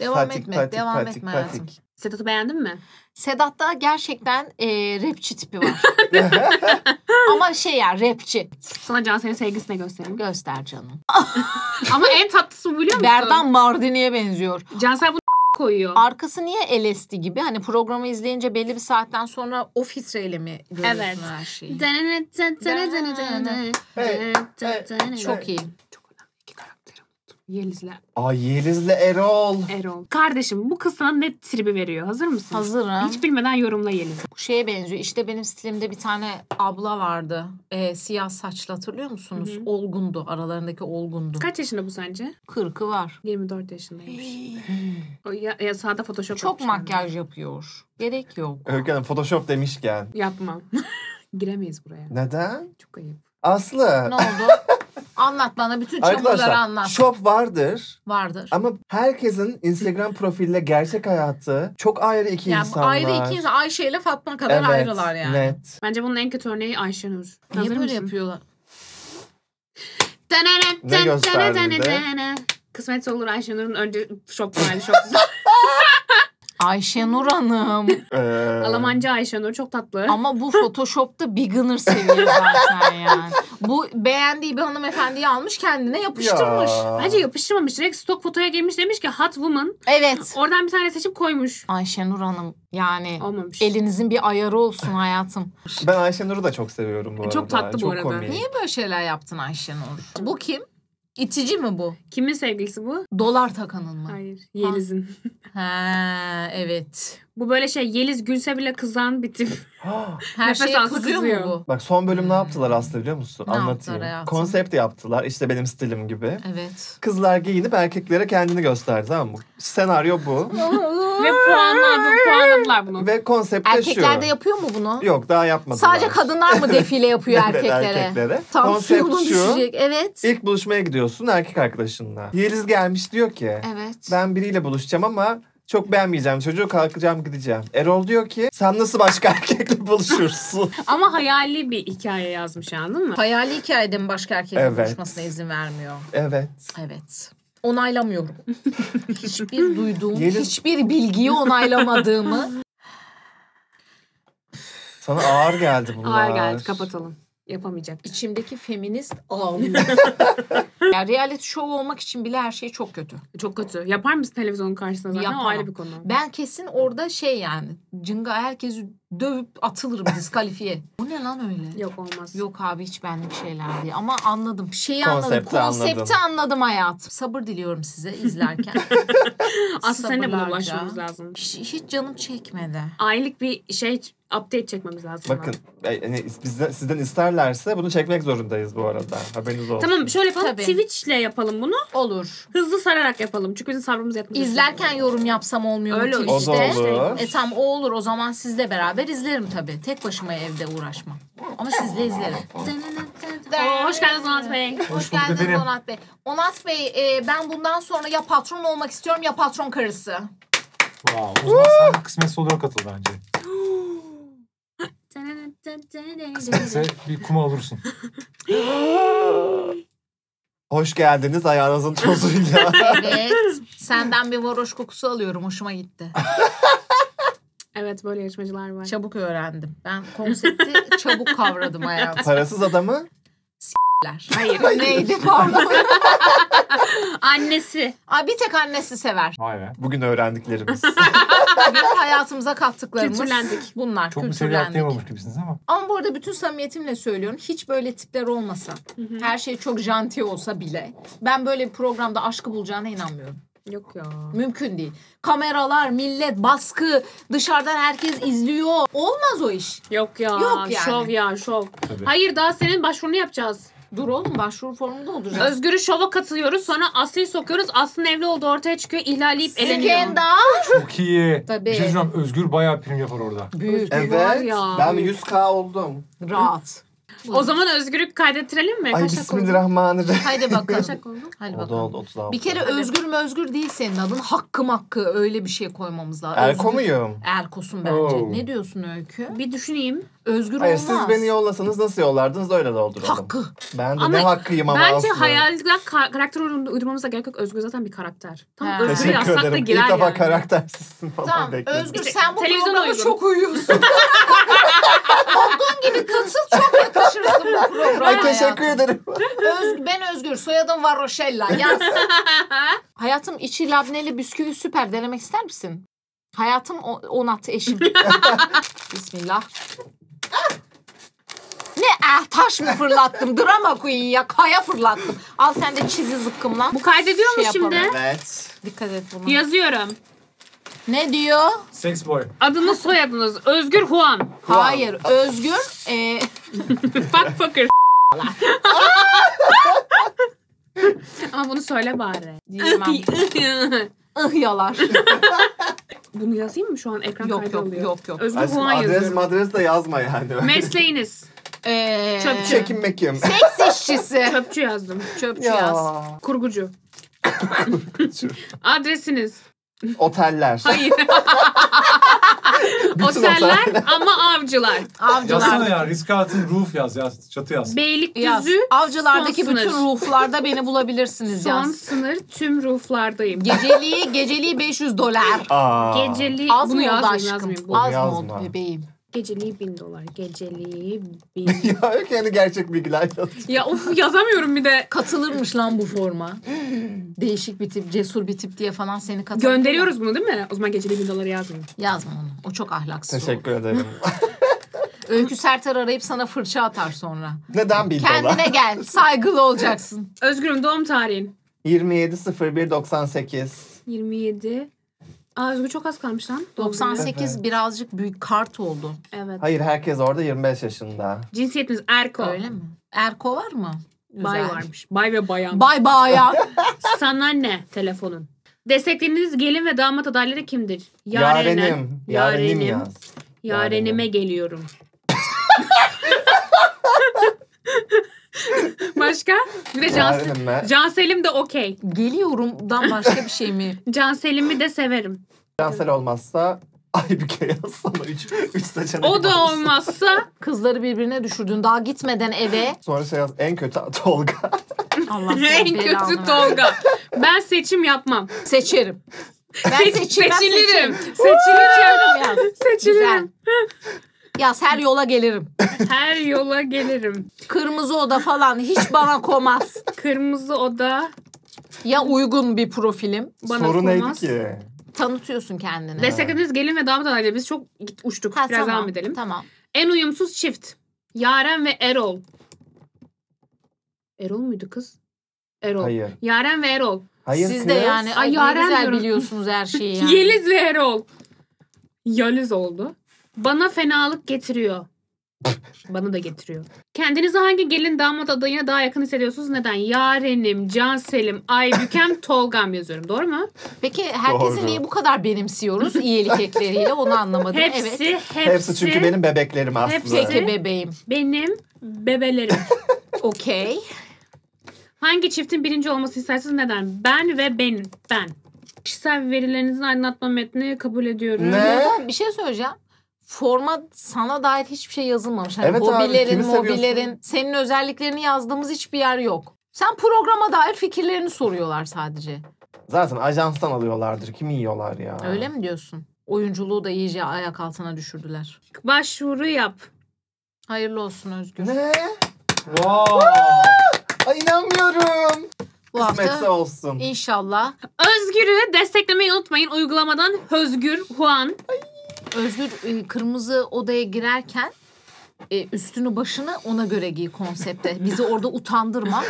S1: devam
S4: patik,
S1: etme.
S4: patik,
S1: devam
S4: patik,
S1: etme hayatım.
S4: patik.
S2: Sedat'ı beğendin mi?
S1: Sedat'ta gerçekten e, rapçi tipi var. Ama şey ya rapçi.
S2: Sana Cansel'in
S1: *laughs*
S2: sevgisine göstereyim.
S1: Göster canım.
S2: Ama en tatlısı bu biliyor musun?
S1: Berdan Mardini'ye benziyor.
S2: Cansel bunu *laughs* koyuyor.
S1: Arkası niye LSD gibi? Hani programı izleyince belli bir saatten sonra o filtreyle mi görüyorsun
S2: Evet.
S1: her şeyi?
S2: Çok
S1: Çok iyi.
S2: Çok önemli iki karakterim. Yeliz'le
S4: Ay Yeliz'le Erol.
S2: Erol. Kardeşim bu kız sana ne tribi veriyor? Hazır mısın?
S1: Hazırım.
S2: Hiç bilmeden yorumla Yeliz'i.
S1: şeye benziyor. İşte benim stilimde bir tane abla vardı. Ee, siyah saçlı hatırlıyor musunuz?
S2: Hı hı.
S1: Olgundu. Aralarındaki olgundu.
S2: Kaç yaşında bu sence?
S1: Kırkı var.
S2: 24 yaşındaymış. O ya, ya sağda photoshop
S1: Çok
S2: yapmış yani.
S1: makyaj yapıyor. Gerek
S2: *laughs*
S1: yok.
S4: Öykü Hanım Photoshop demişken.
S2: Yapmam. *laughs* Giremeyiz buraya.
S4: Neden?
S2: Çok ayıp.
S4: Aslı.
S1: Ne oldu? anlat bana bütün çamurları
S4: Arkadaşlar
S1: anlat.
S4: şop vardır
S1: Vardır.
S4: ama herkesin Instagram profiliyle gerçek hayatı çok ayrı iki
S1: Yani bu
S4: insan
S1: ayrı
S4: var.
S1: iki insan Ayşe ile Fatma kadar
S4: Evet,
S1: ayrılar yani.
S4: Net.
S2: Bence bunun en kötü örneği Ayşenur.
S1: Niye
S2: Hazır
S1: böyle
S2: mısın?
S1: yapıyorlar?
S4: Ne gösterdiğinde?
S2: Kısmetse olur Ayşenur'un önce şok vardı. Şok
S1: Ayşe Nur Hanım.
S4: *laughs* Ee,
S2: Almancı Ayşenur çok tatlı.
S1: Ama bu Photoshop'ta beginner seviyor zaten yani. Bu beğendiği bir hanımefendiyi almış kendine yapıştırmış.
S4: Ee, ya.
S2: Bence yapıştırmamış. Direkt stok fotoya girmiş demiş ki hot woman.
S1: Evet.
S2: Oradan bir tane seçip koymuş.
S1: Ayşenur Hanım yani
S2: Olmamış.
S1: elinizin bir ayarı olsun hayatım.
S4: Ben Ayşenur'u da çok seviyorum
S1: E,
S4: bu arada.
S2: Çok tatlı bu
S4: çok
S2: arada.
S4: Komik.
S1: Niye böyle şeyler yaptın Ayşenur? Bu kim? İtici mi bu?
S2: Kimin sevgilisi bu?
S1: Dolar takanın mı?
S2: Hayır. Yeliz'in.
S1: Ha evet.
S2: Bu böyle şey Yeliz gülse bile kızan bir tip.
S4: Ha,
S1: Her
S2: Nefes
S1: şey
S2: alsın
S1: kızıyor
S2: kızıyor.
S1: mu bu?
S4: *gasps* Bak son bölüm ne yaptılar Aslı biliyor musun?
S1: Ne yaptılar
S4: Anlatayım.
S1: hayatım?
S4: Konsept yaptılar işte benim stilim gibi.
S1: *laughs* Evet.
S4: Kızlar giyinip erkeklere kendini gösterdi tamam mı? Senaryo bu.
S2: Ve puanladı, puanladılar bunu.
S4: Ve konsept de şu.
S1: Erkekler de yapıyor mu bunu?
S4: Yok daha yapmadılar.
S1: Sadece kadınlar mı defile
S4: *laughs*
S1: yapıyor
S4: Evet,
S1: erkeklere?
S4: erkeklere.
S1: Tansiyonu
S4: Konsept şu.
S1: düşecek. Evet.
S4: İlk buluşmaya gidiyorsun erkek arkadaşınla. Yeliz gelmiş diyor ki
S1: Evet.
S4: ben biriyle buluşacağım ama çok beğenmeyeceğim çocuğu kalkacağım gideceğim. Erol diyor ki sen nasıl başka *laughs* erkekle buluşursun? *laughs*
S2: Ama hayali bir hikaye yazmış anladın mı?
S1: Hayali hikayede mi başka erkekle
S4: Evet.
S1: konuşmasına izin vermiyor?
S4: evet.
S1: Evet.
S4: *laughs*
S1: Onaylamıyorum. hiçbir duyduğum,
S4: Yeliz-
S1: hiçbir bilgiyi onaylamadığımı.
S4: Sana ağır geldi bunlar.
S2: Ağır geldi kapatalım. Yapamayacak.
S1: içimdeki feminist
S4: *laughs*
S1: ağlıyor. yani reality show olmak için bile her şey çok kötü.
S2: Çok kötü. Yapar mısın televizyonun karşısında zaten?
S1: Yapamam.
S2: O ayrı bir konu.
S1: Ben kesin orada şey yani cınga herkesi dövüp atılırım diskalifiye. Bu ne lan öyle?
S2: Yok olmaz.
S1: Yok abi hiç benlik şeyler diye. Ama anladım. Şeyi
S4: Konsepti
S1: anladım. Konsepti
S4: anladın.
S1: anladım hayatım. Sabır diliyorum size
S4: *laughs*
S1: izlerken.
S2: Aslında seninle buna
S1: Sabırlarca.
S2: ulaşmamız lazım.
S1: Hiç, hiç canım çekmedi.
S2: Aylık bir şey Update çekmemiz lazım.
S4: Bakın e, yani bizden, sizden isterlerse bunu çekmek zorundayız bu arada. Haberiniz olsun.
S2: Tamam şey- şöyle yapalım.
S1: Tabii.
S2: Twitch'le yapalım bunu.
S1: Olur.
S2: Hızlı sararak yapalım. Çünkü bizim sabrımız yetmez.
S1: İzlerken yorum yapsam olmuyor
S2: Öyle
S1: mu
S4: O da
S1: Twitch'te?
S2: işte.
S4: olur.
S1: E tam o olur o zaman sizle beraber izlerim tabii. Tek başıma evde uğraşmam. Ama sizle izlerim.
S2: Oo, hoş geldiniz Onat Bey.
S1: Hoş
S3: Hoş bulduk
S1: geldiniz
S3: efendim.
S1: Onat Bey. Onat Bey e, ben bundan sonra ya patron olmak istiyorum ya patron karısı.
S3: Wow. O zaman sen kısmetse olarak katıl bence. Kısmetse bir kuma olursun.
S4: Hoş geldiniz ayağınızın tozuyla.
S1: Evet. *laughs* Senden bir varoş kokusu alıyorum. Hoşuma gitti.
S2: Evet böyle yarışmacılar var.
S1: Çabuk öğrendim. Ben konsepti çabuk kavradım hayatımlar.
S4: Parasız adamı
S1: Hayır. Neydi pardon.
S2: Annesi.
S1: Aa, bir tek annesi sever.
S3: Vay be.
S4: bugün öğrendiklerimiz.
S1: Bugün hayatımıza kattıklarımız
S2: Kültürlendik.
S1: bunlar.
S3: Çok bir seviye
S1: kültürlendik.
S3: atlayamamış gibisiniz ama.
S1: Ama bu arada bütün samimiyetimle söylüyorum. Hiç böyle tipler olmasa, her şey çok janti olsa bile ben böyle bir programda aşkı bulacağına inanmıyorum.
S2: Yok ya.
S1: Mümkün değil. Kameralar, millet, baskı, dışarıdan herkes izliyor. Olmaz o iş.
S2: Yok ya.
S1: Yok yani.
S2: Şov ya şov.
S3: Tabii.
S2: Hayır daha senin başvurunu yapacağız.
S1: Dur oğlum başvuru formunda olacağız.
S2: Özgür'ü şova katılıyoruz. Sonra Aslı'yı sokuyoruz. Aslı'nın evli olduğu ortaya çıkıyor. İhlaleyip eleniyor.
S1: Skandal.
S3: Çok iyi.
S1: Tabii.
S3: Bir şey söyleyeceğim. Özgür bayağı prim yapar orada.
S1: Büyük.
S4: evet.
S2: Var ya.
S4: Ben 100k oldum.
S1: Rahat.
S2: O zaman Özgür'ü kaydettirelim mi?
S4: Ay
S2: Kaçak oldu.
S4: bismillahirrahmanirrahim.
S1: Haydi bakalım.
S2: *laughs* Kaçak oldu.
S1: Hadi
S4: O da
S1: bakalım.
S4: oldu 36.
S1: Bir kere özgür mü özgür değil senin adın. Hakkım hakkı öyle bir şey koymamız lazım.
S4: Erko
S1: Özgür-
S4: muyum?
S1: Erkosun bence.
S3: Oo.
S1: Ne diyorsun Öykü?
S2: Bir düşüneyim.
S1: Özgür
S4: Hayır
S1: olmaz.
S4: siz beni yollasanız nasıl yollardınız öyle dolduralım.
S1: Hakkı.
S4: Ben de
S2: Ama
S4: ne hakkıyım ama
S2: Bence
S4: aslında.
S2: hayalden ka- karakter uyum- uydurmamıza gerek yok. Özgür zaten bir karakter.
S1: Ha.
S2: Tam Özgür'ü
S4: Teşekkür
S2: yazsak da
S4: ederim. İlk
S2: girer
S4: defa
S2: yani.
S4: karaktersizsin falan
S1: Tamam
S4: bekledim.
S1: Özgür
S2: İşte
S1: sen bu
S2: televizyon
S1: programa
S2: uygun.
S1: çok uyuyorsun. *laughs* Olduğun gibi katıl çok yakışırsın bu programa.
S4: Ay teşekkür
S1: hayatım.
S4: ederim. *laughs*
S1: Özgür, ben Özgür soyadım var Roşella. Yaz. *laughs* Hayatım içi labneli bisküvi süper denemek ister misin? Hayatım o- onat eşim. *laughs* Bismillah. Ne ah taş mı fırlattım? Drama queen ya kaya fırlattım. Al sen de çizi zıkkımla.
S2: *laughs* Bu kaydediyor mu
S1: Şey
S2: şimdi?
S1: yapalım.
S4: evet.
S1: Dikkat et buna.
S2: Yazıyorum.
S1: Ne diyor?
S3: Sex boy.
S2: Adınız soyadınız. Özgür Huan.
S1: Hayır Özgür e,
S2: Fuck
S1: *laughs*
S2: fucker. Ama bunu söyle bari. *laughs*
S1: *laughs* diyemem. ıh yalar.
S2: bunu yazayım mı şu an ekran
S1: Yok,
S2: kaydı
S1: yok,
S2: alıyor.
S1: yok, yok.
S2: Özgür
S4: Aslında
S2: Huan
S4: adres
S2: yazıyorum.
S4: madres de yazma yani.
S2: Mesleğiniz.
S1: Ee,
S2: Çöp çekin.
S1: *laughs*
S4: Çekinmekim.
S1: Seks işçisi.
S2: Çöpçü yazdım.
S1: Çöpçü yaz.
S4: Ya.
S2: *laughs* Kurgucu. Adresiniz.
S4: Oteller. *laughs*
S2: Hayır. Oteller ama *laughs* avcılar.
S1: Avcılar.
S3: Yazsana ya. Risk altın roof yaz. yaz. Çatı yaz.
S1: Yaz.
S2: Beylikdüzü
S1: Avcılardaki
S2: son
S1: bütün
S2: sınır.
S1: ruhlarda beni bulabilirsiniz
S2: son
S1: yaz.
S2: sınır tüm ruhlardayım.
S1: Geceliği, geceliği 500 dolar.
S4: Aa.
S2: Geceli
S1: Az
S2: bunu
S1: mı oldu
S2: yazmayayım,
S1: aşkım?
S2: yazmayayım. Bu-
S1: Az mı
S4: Yazma.
S1: oldu bebeğim?
S2: Geceliği bin dolar. Geceliği bin.
S4: Ya öyle yani gerçek bilgiler yaz.
S2: *laughs* ya of yazamıyorum bir de.
S1: Katılırmış lan bu forma. Değişik bir tip, cesur bir tip diye falan seni katılır.
S2: Gönderiyoruz bunu değil mi? O zaman geceliği bin doları yazmayayım.
S1: Yazma onu. O çok ahlaksız. olur.
S4: Teşekkür ederim.
S1: Öykü Sertar arayıp sana fırça atar sonra.
S4: Neden bin dolar?
S1: Kendine
S4: *laughs*
S1: gel. Saygılı olacaksın.
S2: Özgür'üm doğum tarihin.
S4: 27.01.98.
S2: 27. Aa Özgür çok az kalmış lan. doğum
S1: 98 birazcık büyük kart oldu.
S2: günü. Evet.
S4: Hayır herkes orada 25 yaşında.
S2: Cinsiyetiniz Erko.
S1: Öyle mi? Erko var mı?
S2: Bay
S1: Güzel.
S2: varmış. Bay ve bayan.
S1: Bay
S2: *laughs*
S1: baya.
S2: Sana ne telefonun? Desteklediğiniz gelin ve damat adayları kimdir? Yarene.
S4: Yarenim. Yarenim yaz.
S2: Yarenime geliyorum. *laughs* Başka? Bir de Can,
S4: Yarenim mi?
S2: Canselim de okey.
S1: Geliyorumdan başka bir şey mi?
S2: Canselim'i de severim.
S4: Cansel olmazsa ay bir kere yazsana. Üç, üç seçenek
S2: O da *laughs*
S4: var.
S2: olmazsa
S1: Kızları birbirine düşürdün. Daha gitmeden eve.
S4: Sonra şey yaz. En kötü Tolga.
S1: Allah senin
S2: *laughs* en
S1: belanı
S2: kötü
S1: ver.
S2: Tolga. Ben seçim yapmam.
S1: Seçerim. Ben seçerim. ben seçerim.
S2: Seçilirim. Seçilirim.
S1: Yaz. Güzel.
S2: Seçilirim.
S1: Yaz her yola gelirim.
S2: Her yola gelirim.
S1: Kırmızı oda falan hiç bana komaz.
S2: Kırmızı oda
S1: Ya uygun bir profilim.
S2: bana
S4: Soru neydi
S2: konmaz.
S4: ki?
S1: Tanıtıyorsun kendini.
S2: Desteklediğiniz gelin ve damat adayları biz çok git- uçtuk.
S1: Ha,
S2: Biraz
S1: tamam,
S2: devam edelim.
S1: Tamam.
S2: En uyumsuz çift. Yaren ve Erol. Erol muydu kız? Erol.
S4: Hayır.
S2: Yaren ve Erol.
S4: Hayır
S1: Siz de
S4: kız.
S1: yani ay,
S2: Ay,
S1: ne
S2: Yaren
S1: güzel
S2: *laughs* diyorum.
S1: biliyorsunuz her şeyi yani.
S2: Yeliz ve Erol. Yaliz oldu. Bana fenalık
S4: *laughs*
S2: getiriyor. Bana da getiriyor. Kendinizi hangi gelin damat adayına daha yakın hissediyorsunuz? Neden? Yarenim, Canselim, Aybükem, *laughs* Tolgam yazıyorum. Doğru mu?
S1: Peki herkesi
S4: Doğru.
S1: niye bu kadar benimsiyoruz
S4: *laughs*
S1: iyilik ekleriyle onu anlamadım.
S2: Hepsi,
S1: Evet.
S2: hepsi,
S4: Hepsi çünkü benim bebeklerim aslında.
S2: hepsi-
S1: Peki bebeğim.
S2: benim bebelerim.
S1: Okey.
S4: *laughs*
S2: Hangi çiftin birinci olması istersiniz? Neden? Ben ve ben. Ben. Kişisel verilerinizi aydınlatma metni kabul ediyorum.
S4: Ne?
S1: Ya bir şey söyleyeceğim. Forma sana dair hiçbir şey yazılmamış. Hani
S4: Evet abi,
S1: hobilerin,
S4: kimi seviyorsun?
S1: mobilerin, senin özelliklerini yazdığımız hiçbir yer yok. Sen programa dair fikirlerini soruyorlar sadece.
S4: Zaten ajanstan alıyorlardır. Kimi yiyorlar ya?
S1: Öyle mi diyorsun? Oyunculuğu da iyice ayak altına düşürdüler.
S2: Başvuru yap.
S1: Hayırlı olsun Özgür.
S4: Ne?
S3: Wow.
S4: Ay inanmıyorum.
S1: Bu
S4: Kısmetse
S1: hafta
S4: olsun.
S1: inşallah
S2: Özgür'ü desteklemeyi unutmayın. Uygulamadan Özgür Huan.
S1: Özgür e, kırmızı odaya girerken e, üstünü başını ona göre giy konsepte. Bizi orada utandırma.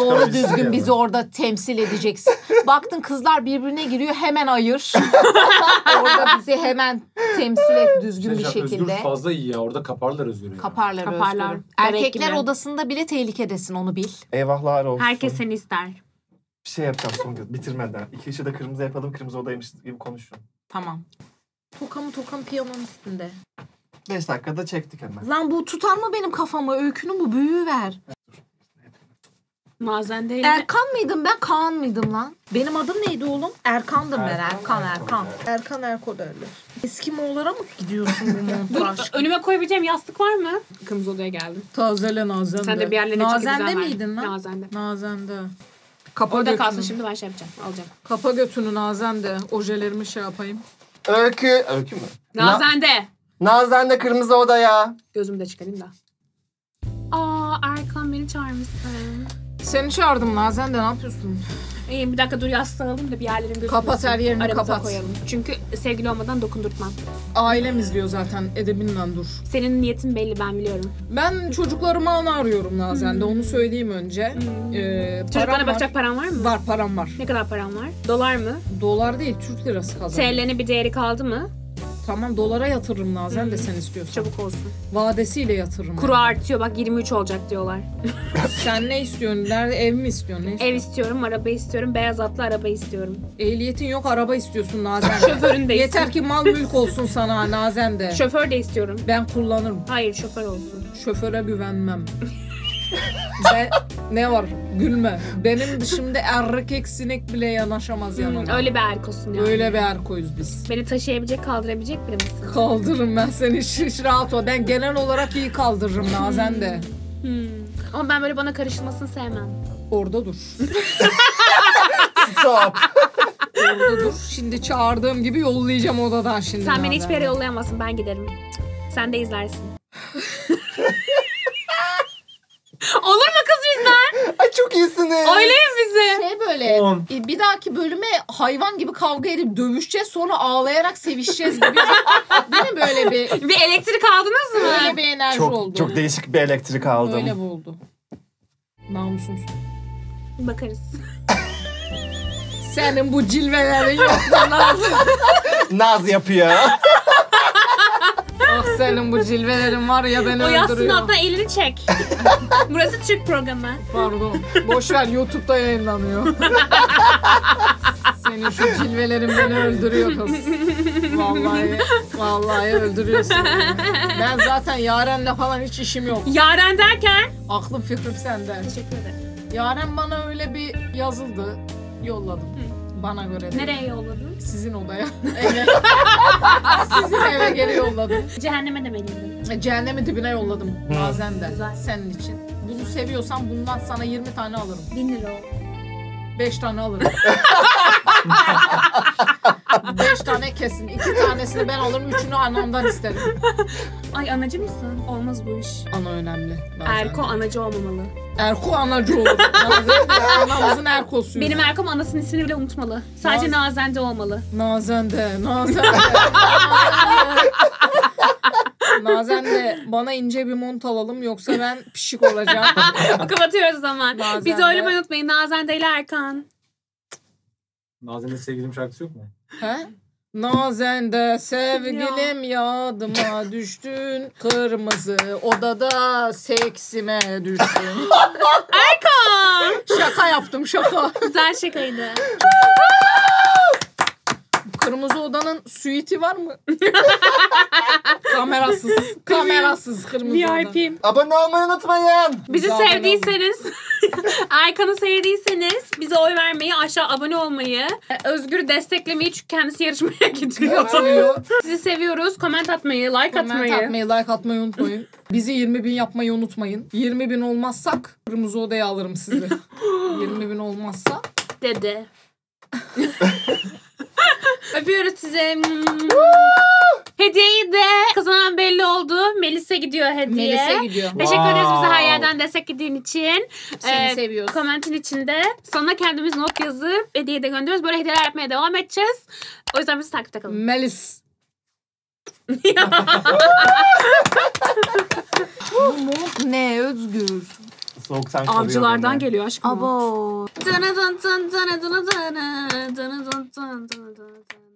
S1: Doğru düzgün bizi orada temsil edeceksin. Baktın kızlar birbirine giriyor hemen ayır. orada bizi hemen temsil et düzgün bir
S3: Şey, Özgür
S1: şekilde.
S3: fazla iyi ya. Orada kaparlar Özgür'ü. ya.
S1: Kaparlar,
S2: Kaparlar.
S1: Özgür'ü.
S2: Bebek
S1: Erkekler
S2: gibi.
S1: odasında bile tehlikedesin onu bil.
S4: Eyvahlar olsun.
S2: Herkes seni ister.
S4: Bir şey yapacağım son kez bitirmeden. İki işi de kırmızı yapalım kırmızı odaymış gibi konuşun.
S1: Tamam. Tokamı tokam piyanonun üstünde.
S4: Beş dakikada çektik hemen.
S1: Lan bu tutar mı benim kafamı? Öykünün bu büyüğü ver.
S2: Mazen değil. mi?
S1: Erkan mıydım ben Kaan mıydım lan? Benim adım neydi oğlum? Erkan'dım ben Erkan
S3: Erkan,
S1: Erkan.
S3: Erkan.
S1: Erkan Erko derler. Eski Moğollara mı gidiyorsun
S2: *laughs*
S1: bu
S2: Dur
S1: montu aşkım?
S2: önüme koyabileceğim yastık var mı? Kırmızı odaya geldim.
S1: Tazele Nazende.
S2: Sen de bir yerlerine çıkıp
S1: Nazende
S2: güzel ver.
S1: miydin lan?
S2: Nazende.
S1: Nazende. Kapa
S2: Orada
S1: götünü.
S2: kalsın şimdi ben şey yapacağım. Alacağım.
S1: Kapa götünü Nazende. Ojelerimi şey yapayım.
S4: Öykü. Öykü mü? Na-
S2: Nazende.
S4: Nazan da kırmızı odaya.
S2: Gözümü de çıkarayım da. Aa Erkan beni çağırmışsın.
S1: Seni çağırdım Nazende ne yapıyorsun?
S2: İyi bir dakika dur yastığı alayım da bir yerlerim gözükmesin.
S1: Kapat her yerini,
S2: Aramıza
S1: kapat.
S2: koyalım. Çünkü sevgili olmadan dokundurtmam.
S1: Ailem izliyor zaten edebinle dur.
S2: Senin niyetin belli ben biliyorum.
S1: Ben çocuklarıma ana arıyorum Nazende onu söyleyeyim önce. Ee,
S2: Çocuklara bakacak paran var mı?
S1: Var param var.
S2: Ne kadar paran var? Dolar mı?
S1: Dolar değil Türk lirası kazandım.
S2: TL'nin bir değeri kaldı mı?
S1: Tamam dolara yatırırım Nazan de sen istiyorsan.
S2: Çabuk olsun.
S1: Vadesiyle yatırırım.
S2: Kuru artıyor bak 23 olacak diyorlar.
S1: Sen ne istiyorsun? Nerede ev mi istiyorsun? Ne
S2: Ev istiyorum, araba istiyorum, beyaz atlı
S1: *laughs*
S2: araba istiyorum.
S1: Ehliyetin yok araba istiyorsun Nazan.
S2: Şoförün de
S1: Yeter
S2: istiyorum.
S1: ki mal mülk olsun sana Nazan de.
S2: Şoför de istiyorum.
S1: ben kullanırım.
S2: Hayır şoför olsun.
S1: Şoföre güvenmem. Ve ne var? Gülme. Benim dışımda erkek sinek bile yanaşamaz yanıma.
S2: Hmm, Öyle bir erk olsun yani.
S1: Öyle bir erkoyuz biz.
S2: Beni taşıyabilecek, kaldırabilecek biri misin?
S1: Kaldırırım ben seni şiş rahat ol. Ben genel olarak iyi kaldırırım Nazan de.
S2: Hmm. Ama ben böyle bana karışılmasını sevmem.
S1: Orada dur. *laughs*
S4: Stop.
S1: Dur, dur. Şimdi çağırdığım gibi yollayacağım odadan şimdi.
S2: Sen beni
S1: Nazan.
S2: hiçbir yere yollayamazsın, ben giderim. Cık, Sen de izlersin.
S1: *laughs*
S2: Olur mu kız bizden?
S4: Ay çok iyisiniz.
S2: Oylayın bizi.
S1: Şey böyle
S3: On.
S1: e, bir dahaki bölüme hayvan gibi kavga edip dövüşeceğiz sonra ağlayarak sevişeceğiz gibi. şey. *laughs* Değil mi böyle bir
S2: Bir elektrik aldınız mı?
S1: böyle bir enerji
S4: Çok,
S1: oldu.
S4: çok değişik bir elektrik aldım.
S1: Öyle bu oldu. Namusumsun.
S2: Bakarız.
S1: Senin bu cilvelerin yok da Nazan.
S4: Naz yapıyor.
S1: *laughs* ah senin bu cilvelerin var ya beni
S2: O yastığın
S1: öldürüyor.
S2: altına elini çek. *laughs* Burası Türk programı.
S1: Pardon. Boş ver YouTube'da yayınlanıyor. Senin şu cilvelerin beni öldürüyor kız. Vallahi vallahi öldürüyorsun. beni. Ben zaten Yaren'le falan hiç işim yok.
S2: Yaren derken...
S1: Aklım fikrim sende.
S2: Teşekkür ederim.
S1: Yaren bana öyle bir yazıldı. Yolladım. Bana göre değil.
S2: Nereye yolladın?
S1: Sizin odaya. Eve. Sizin eve geri yolladım.
S2: Cehenneme demeliydim.
S1: E, Cehennemi dibine yolladım. Bazen de.
S2: Güzel.
S1: Senin için. Bunu seviyorsan bundan sana 20 tane alırım.
S2: Bin lira oldu.
S1: 5 tane
S2: *laughs*
S1: alırım. 5 tane kesin. 2 tanesini ben alırım. Üçünü anamdan isterim.
S2: Ay anacı mısın? Olmaz bu iş.
S1: Ana önemli. bazen.
S2: Erko anacı olmamalı.
S1: Erko anacı olur. Nazen de anamızın Erko'suyuz.
S2: Benim Erkom anasının ismini bile unutmalı. Sadece
S1: Naz-
S2: Nazende olmalı. *laughs*
S1: Nazen de. Nazen de. Nazen de bana ince bir mont alalım yoksa ben pişik
S2: *laughs*
S1: olacağım.
S2: Kapatıyoruz o zaman.
S1: Nazende.
S2: Bizi oylamayı unutmayın. Nazende ile Erkan.
S3: Nazan'ın sevgilim şarkısı yok mu?
S1: He? Nazen de sevgilim yadıma düştün. Kırmızı odada seksime düştün. Erkan! Şaka yaptım şaka.
S2: Güzel şakaydı.
S1: Kırmızı odanın suiti var mı? kamerasız. Kamerasız kırmızı oda.
S2: VIP'im.
S4: *laughs* Abone olmayı unutmayın.
S2: Bizi
S1: Zaten
S2: sevdiyseniz, *laughs* Erkan'ı sevdiyseniz bize oy vermeyi, aşağı abone olmayı, Özgür'ü desteklemeyi çünkü kendisi yarışmaya *laughs* gidiyor. Sizi seviyoruz. Comment atmayı, like
S1: Comment
S2: atmayı.
S1: atmayı, like atmayı unutmayın. Bizi 20 bin yapmayı unutmayın. 20 bin olmazsak kırmızı odaya alırım sizi. 20 bin olmazsa *laughs*
S2: Dedi. Öpüyoruz size. Hediyeyi de kazanan belli oldu. Melis'e gidiyor hediye.
S1: Melis'e gidiyor.
S2: Teşekkür ederiz bize her
S4: Wow.
S2: yerden destek ettiğin için.
S1: Seni
S2: Ee,
S1: seviyoruz.
S2: Komentin içinde sana kendimiz not yazıp hediye de gönderiyoruz. Böyle hediyeler yapmaya devam edeceğiz. O yüzden bizi takipte kalın.
S1: Melis. Mumuk ne özgür.
S4: Soğuktan koruyor
S6: Avcılardan
S4: beni.
S6: geliyor aşkım.
S1: Abo.
S2: Dını dın dın dını dını dını, dını dın dın dını dını dını.